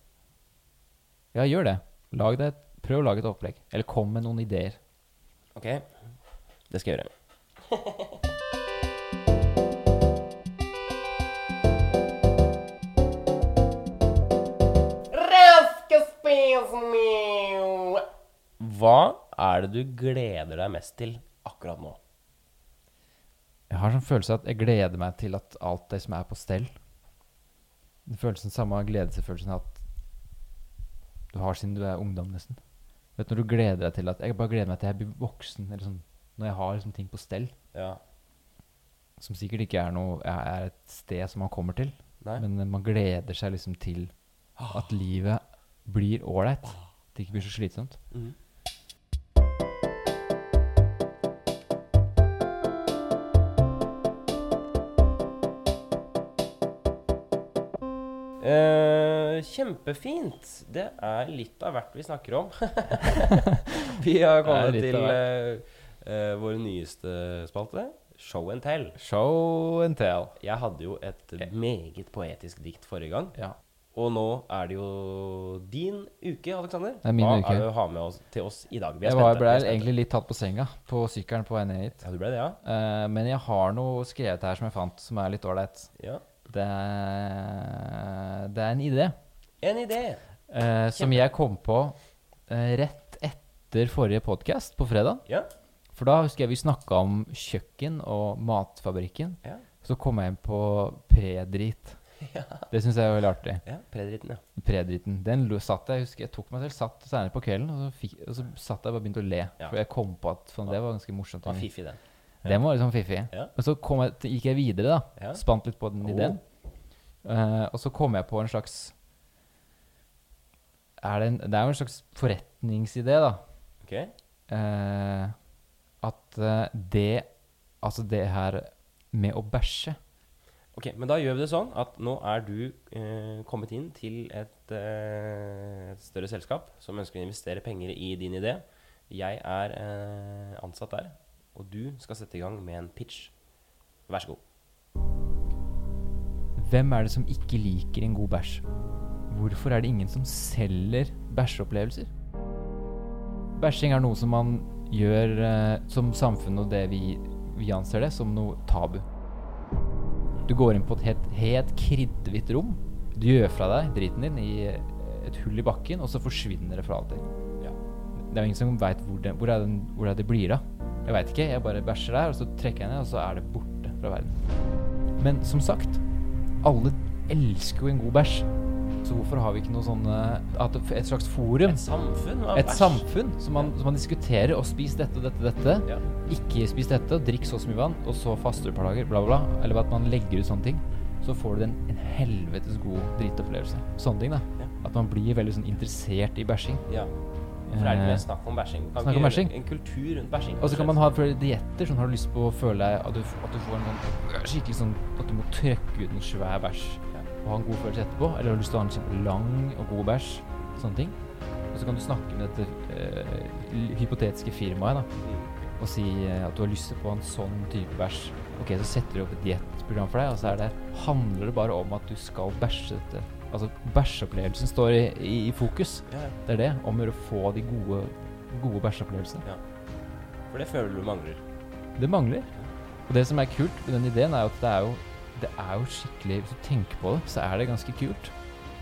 B: Ja, gjør det. Lag deg et, prøv å lage et opplegg. Eller kom med noen ideer.
A: Ok, det skal jeg gjøre. Hva er det du gleder deg mest til akkurat nå?
B: Jeg har sånn følelse at jeg gleder meg til at alt det som er på stell Den følelsen, samme gledesfølelsen jeg har hatt du har siden du er ungdom, nesten. Vet du, når du gleder deg til at Jeg bare gleder meg til jeg blir voksen, eller sånn Når jeg har liksom ting på stell,
A: Ja.
B: som sikkert ikke er noe er- Er et sted som man kommer til,
A: Nei? Ah.
B: men eh, man gleder seg liksom til at livet blir ålreit. At det ikke blir så slitsomt.
A: Mhm. Eh, kjempefint. Det er litt av hvert vi snakker om. vi har kommet
B: Det er litt
A: til
B: av
A: eh, eh, vår nyeste spalte, Show and Tell.
B: Show and tell.
A: Jeg hadde jo et meget poetisk dikt forrige gang.
B: Ja.
A: Og nå er det jo din uke, Aleksander.
B: Det er min
A: Hva
B: uke.
A: er det du har med oss, til oss i dag? Vi er
B: Jeg
A: spente,
B: var,
A: vi
B: ble
A: er spente.
B: egentlig litt tatt på senga på sykkelen på vei ned hit.
A: Ja, du ble det, ja?
B: Eh, men jeg har noe skrevet her som jeg fant, som er litt ålreit.
A: ja.
B: Det, er- det er en idé
A: En idé.
B: eh, som jeg kom på eh, rett etter forrige podkast, på fredag.
A: Ja.
B: For da husker jeg vi snakka om kjøkken og matfabrikken.
A: Ja.
B: Så kom jeg inn på predrit. Det syns jeg er veldig artig.
A: Ja, predritten, ja.
B: Predriten. Den lo- satt jeg, husker jeg tok meg selv, satt senere på kvelden, og så, fikk, og så satt jeg og bare begynte å le.
A: Ja.
B: For jeg kom på at faen, det var ganske morsomt.
A: Det var fiffig, den.
B: Den var liksom fiffig.
A: Ja.
B: Og så kom jeg, gikk jeg videre, da.
A: Ja.
B: Spant litt på den
A: Oh.
B: ideen. Eh, og så kom jeg på en slags er det, en, det er jo en slags forretningsidé, da.
A: Ok?
B: Eh, at eh, det Altså det her med å bæsje
A: Ok, Men da gjør vi det sånn at nå er du eh, kommet inn til et, eh, et større selskap som ønsker å investere penger i din idé. Jeg er eh, ansatt der, og du skal sette i gang med en pitch. Vær så god.
B: Hvem er det som ikke liker en god bæsj? Hvorfor er det ingen som selger bæsjeopplevelser? Bæsjing er noe som man gjør eh, som samfunn og det vi, vi anser det som noe tabu. Du går inn på et helt, helt kritthvitt rom. Du gjør fra deg driten din i eh, et hull i bakken, og så forsvinner det for alltid.
A: Ja.
B: Det er jo ingen som veit hvor, det- hvor, er den- hvor er det blir av. Jeg veit ikke. Jeg bare bæsjer der, og så trekker jeg ned, og så er det borte fra verden. Men som sagt, alle elsker jo en god bæsj. Så hvorfor har vi ikke noe sånn at det- Et slags forum?
A: Et samfunn? hva?
B: Et
A: Bæsj.
B: samfunn som man, som man diskuterer og spis dette, dette, dette.
A: Ja.
B: Ikke spis dette, drikk så og så mye vann, og så faster et par dager, bla, bla, bla. Eller at man legger ut sånne ting. Så får du den en helvetes god dritopplevelse. Sånne ting, da.
A: Ja.
B: At man blir veldig sånn interessert i bæsjing.
A: ja. For det er ikke mer snakk om bæsjing. Kan
B: Eh, snakk
A: ikke
B: om
A: gjøre
B: bæsjing.
A: En kultur rundt bæsjing.
B: Og så kan man ha flere dietter. Sånn har du lyst på å føle deg at du, at du får en sånn skikkelig sånn At du må trøkke ut en svær bæsj
A: Ja.
B: og ha en god følelse etterpå. Eller har du lyst til å ha en kjempelang og god bæsj. Sånne ting. Og så kan du snakke med dette eh, l- hypotetiske firmaet da,
A: Mm.
B: og si eh, at du har lyst på en sånn type bæsj. Ok, så setter de opp et diettprogram for deg, og så er det, handler det bare om at du skal bæsje dette. Altså bæsjeopplevelsen står i, i, i fokus.
A: Ja, ja.
B: Det er det. Om å gjøre å få de gode, gode bæsjeopplevelsene.
A: For det føler du mangler.
B: Det mangler. Og det som er kult med den ideen, er jo at det er jo, det er jo skikkelig Hvis du tenker på det, så er det ganske kult.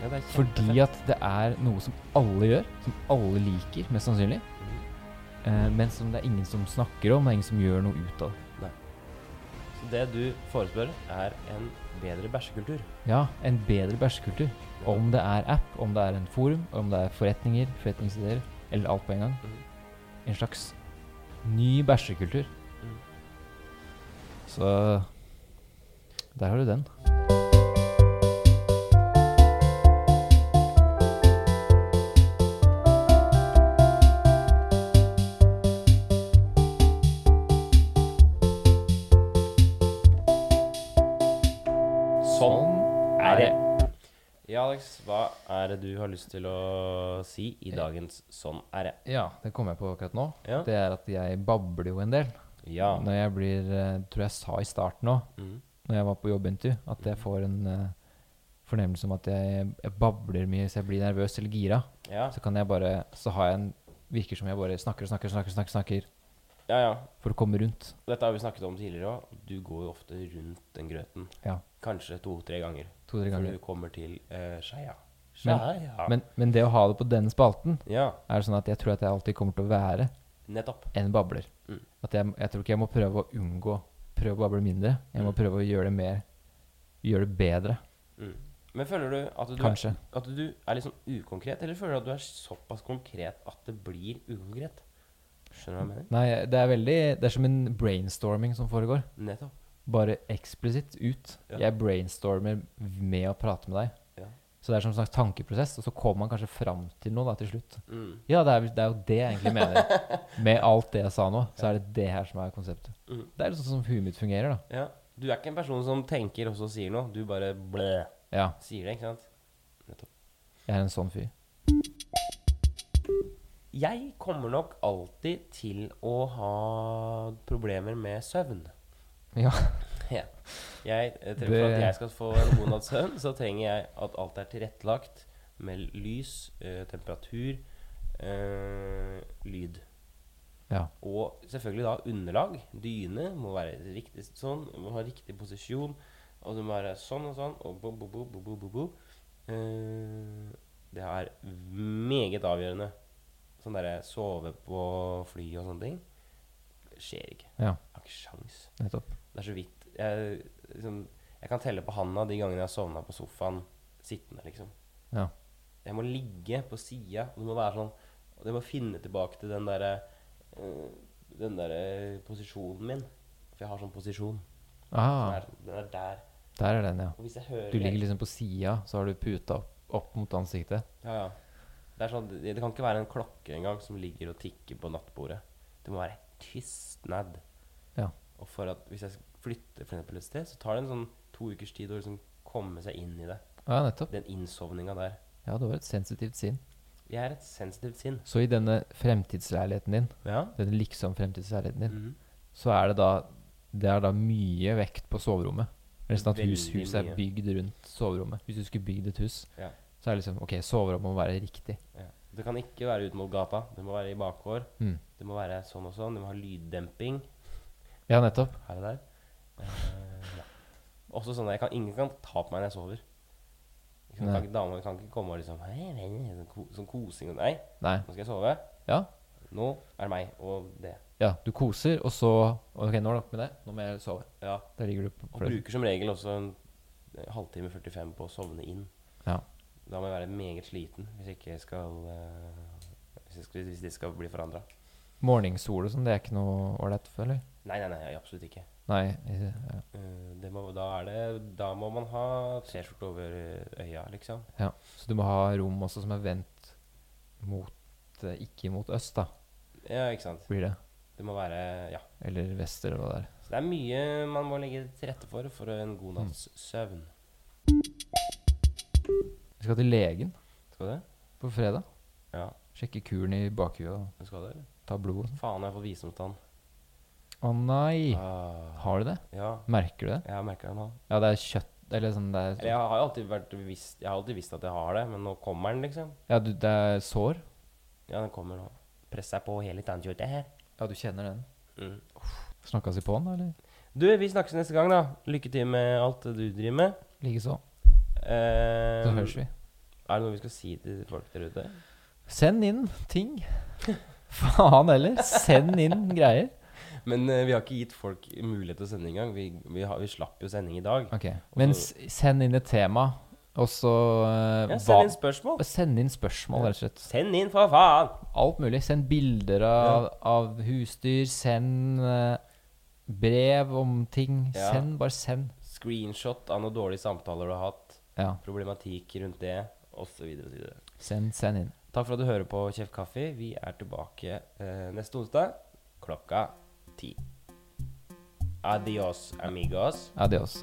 A: Ja, det er
B: Fordi at det er noe som alle gjør, som alle liker, mest sannsynlig. Eh, men som det er ingen som snakker om, det er ingen som gjør noe ut av.
A: Så det du forespør, er en bedre bæsjekultur.
B: Ja, en bedre bæsjekultur. Om det er app, om det er en forum, om det er forretninger, forretningsideer, eller alt på en gang. En slags ny bæsjekultur.
A: Mm.
B: Så der har du den.
A: Sånn
B: sånn
A: er det. Ja, Alex, hva er det du har lyst til å si i dagens Sånn er det?
B: Ja, det kom jeg på akkurat nå.
A: Ja.
B: Det er at jeg babler jo en del.
A: Ja.
B: Når jeg blir, eh, tror jeg sa i starten òg,
A: Mm.
B: når jeg var på jobbintervju, at
A: Mhm.
B: jeg får en eh, fornemmelse om at jeg, jeg babler mye hvis jeg blir nervøs eller gira.
A: Ja.
B: Så kan jeg bare, så har jeg en virker som jeg bare snakker og snakker, snakker, snakker, snakker
A: ja, ja.
B: for å komme rundt.
A: Dette har vi snakket om tidligere òg. Du går jo ofte rundt den grøten.
B: Ja,
A: Kanskje to-tre ganger før
B: to-tre ganger.
A: du kommer til eh, skeia.
B: Men-
A: Skeia.
B: Men, men det å ha det på denne spalten,
A: Ja,
B: er sånn at jeg tror at jeg alltid kommer til å være
A: nettopp.
B: en babler.
A: Mm.
B: At jeg, jeg tror ikke jeg må prøve å unngå Prøve å bable mindre. Jeg må prøve å gjøre det mer Gjøre det bedre,
A: Mm. Men føler du at du,
B: kanskje.
A: at du er litt sånn ukonkret, eller føler du at du er såpass konkret at det blir ukonkret? Skjønner du hva jeg mener?
B: Nei, det er veldig Det er som en brainstorming som foregår.
A: Nettopp.
B: Bare eksplisitt ut.
A: Ja.
B: Jeg brainstormer med å prate med deg.
A: Ja.
B: Så det er som en slags tankeprosess, og så kommer man kanskje fram til noe da til slutt.
A: Mm.
B: Ja, det er, vel- det er jo det jeg egentlig
A: [laughs]
B: mener. Med alt det jeg sa nå, så er det det her som er konseptet.
A: Mm.
B: Det er litt sånn som huet mitt fungerer, da.
A: Ja. Du er ikke en person som tenker og så sier noe. Du bare blæ,
B: Ja,
A: sier det, ikke sant?
B: jeg er en sånn fyr. [laughs]
A: Jeg kommer nok alltid til å ha problemer med søvn.
B: Ja.
A: Ja. Jeg, eh, tre-
B: Det-
A: For at jeg skal få en god natts søvn, så trenger jeg at alt er tilrettelagt med lys, eh, temperatur, eh, lyd.
B: Ja.
A: Og selvfølgelig da underlag. Dyne må være riktig sånn, må ha riktig posisjon. Og det må være sånn og sånn. Og bo, bo, bo, bo, bo, bo, bo. Eh, det er meget avgjørende. Sånn derre sove på fly og sånne ting. skjer ikke.
B: Ja,
A: Jeg har ikke sjans.
B: nettopp.
A: Det er så vidt jeg, liksom, jeg kan telle på handa de gangene jeg har sovna på sofaen sittende, liksom.
B: Ja.
A: Jeg må ligge på sida, og det må være sånn og Jeg må finne tilbake til den derre øh, Den derre posisjonen min. For jeg har sånn posisjon. Den,
B: Ah,
A: er, den er der.
B: der er den, ja.
A: Og hvis jeg hører
B: Du ligger liksom på sida, så har du puta opp, opp mot ansiktet.
A: Ja, ja. Det, er sånn, det, det kan ikke være en klokke engang som ligger og tikker på nattbordet. Det må være tystnad.
B: Ja.
A: Og for at hvis jeg flytter for eksempel et sted, så tar det en sånn to ukers tid å liksom komme seg inn i det.
B: Ja, nettopp.
A: Den innsovninga der.
B: Ja, det var et sensitivt sinn.
A: Jeg er et sensitivt sinn.
B: Så i denne fremtidsleiligheten din,
A: Ja.
B: denne liksom fremtidsleiligheten din,
A: Mhm.
B: så er det da Det er da mye vekt på soverommet. Det er Nesten at
A: Veldig
B: hus, huset er
A: mye.
B: bygd rundt soverommet. Hvis du skulle bygd et hus,
A: Ja.
B: så er det liksom OK, soverommet må være riktig.
A: ja. Det kan ikke være ut mot gata. Det må være i bakgård.
B: Mm.
A: Det må være sånn og sånn. Det må ha lyddemping
B: Ja, nettopp.
A: her og der. Eh, ja. Også sånn at jeg kan, ingen kan ta på meg når jeg sover. Ikke sant?
B: Nei.
A: Kan ikke- Damer kan ikke komme og liksom hei, hei, hei, sånn, ko, sånn kosing og Nei,
B: Nei.
A: nå skal jeg sove.
B: Ja.
A: Nå er det meg og det.
B: Ja, du koser, og så OK, nå er det nok med det. Nå må jeg sove.
A: Ja.
B: Der ligger du på
A: Og
B: fløten.
A: bruker som regel også en eh, halvtime 45 på å sovne inn.
B: Ja.
A: Da må jeg være meget sliten hvis ikke jeg skal eh, hvis, jeg skal, hvis det skal bli forandra.
B: Morgensol og sånn, det er ikke noe ålreit for, eller?
A: Nei, nei, nei, absolutt ikke.
B: Nei. Ja.
A: Eh, det må, da, er det, da må man ha T-skjorte over eh, øya, liksom.
B: Ja, så du må ha rom også som er vendt mot eh, Ikke mot øst, da,
A: Ja, ikke sant.
B: blir det.
A: Det må være Ja.
B: Eller vest, eller hva det er.
A: Så det er mye man må legge til rette for for en god natts søvn.
B: Vi skal til legen
A: Skal du det?
B: på fredag.
A: Ja.
B: Sjekke kuren i bakhuet og
A: Du skal det, eller?
B: ta blod og sånn.
A: Faen, jeg har fått visdomstann.
B: Å nei!
A: Ah.
B: Har du det?
A: Ja,
B: Merker du det?
A: jeg merker det nå.
B: Ja, det er kjøtt Eller sånn det
A: Eller
B: er,
A: jeg har jo alltid vært visst, jeg har alltid visst at jeg har det, men nå kommer den, liksom.
B: ja, du, det er sår?
A: Ja, den kommer nå. Press deg på hele tannkjøttet her.
B: Ja, du kjenner den.
A: Mm.
B: Snakkas vi på den, eller?
A: Du, vi snakkes neste gang, da. Lykke til med alt det du driver med.
B: Likeså.
A: Eh,
B: Så høres vi.
A: Er det noe vi skal si til folk der ute?
B: Send inn ting. [laughs] Faen heller. Send inn greier.
A: Men eh, vi har ikke gitt folk mulighet til å sende engang. Vi, vi, har- vi slapp jo sending i dag.
B: Ok. Men s- send inn et tema, og så eh,
A: Ja,
B: hva-
A: send inn spørsmål.
B: Bare Send inn spørsmål, rett og slett.
A: Send inn, for faen!
B: Alt mulig. Send bilder av, av husdyr. Send eh, brev om ting.
A: Ja.
B: Send, bare send.
A: Screenshot av noen dårlige samtaler du har hatt.
B: Ja.
A: Problematikk rundt det, osv. videre.
B: Send, send inn.
A: Takk for at du hører på Kjeft kaffe. Vi er tilbake eh, neste onsdag klokka ti. Adios, amigos.
B: Adios.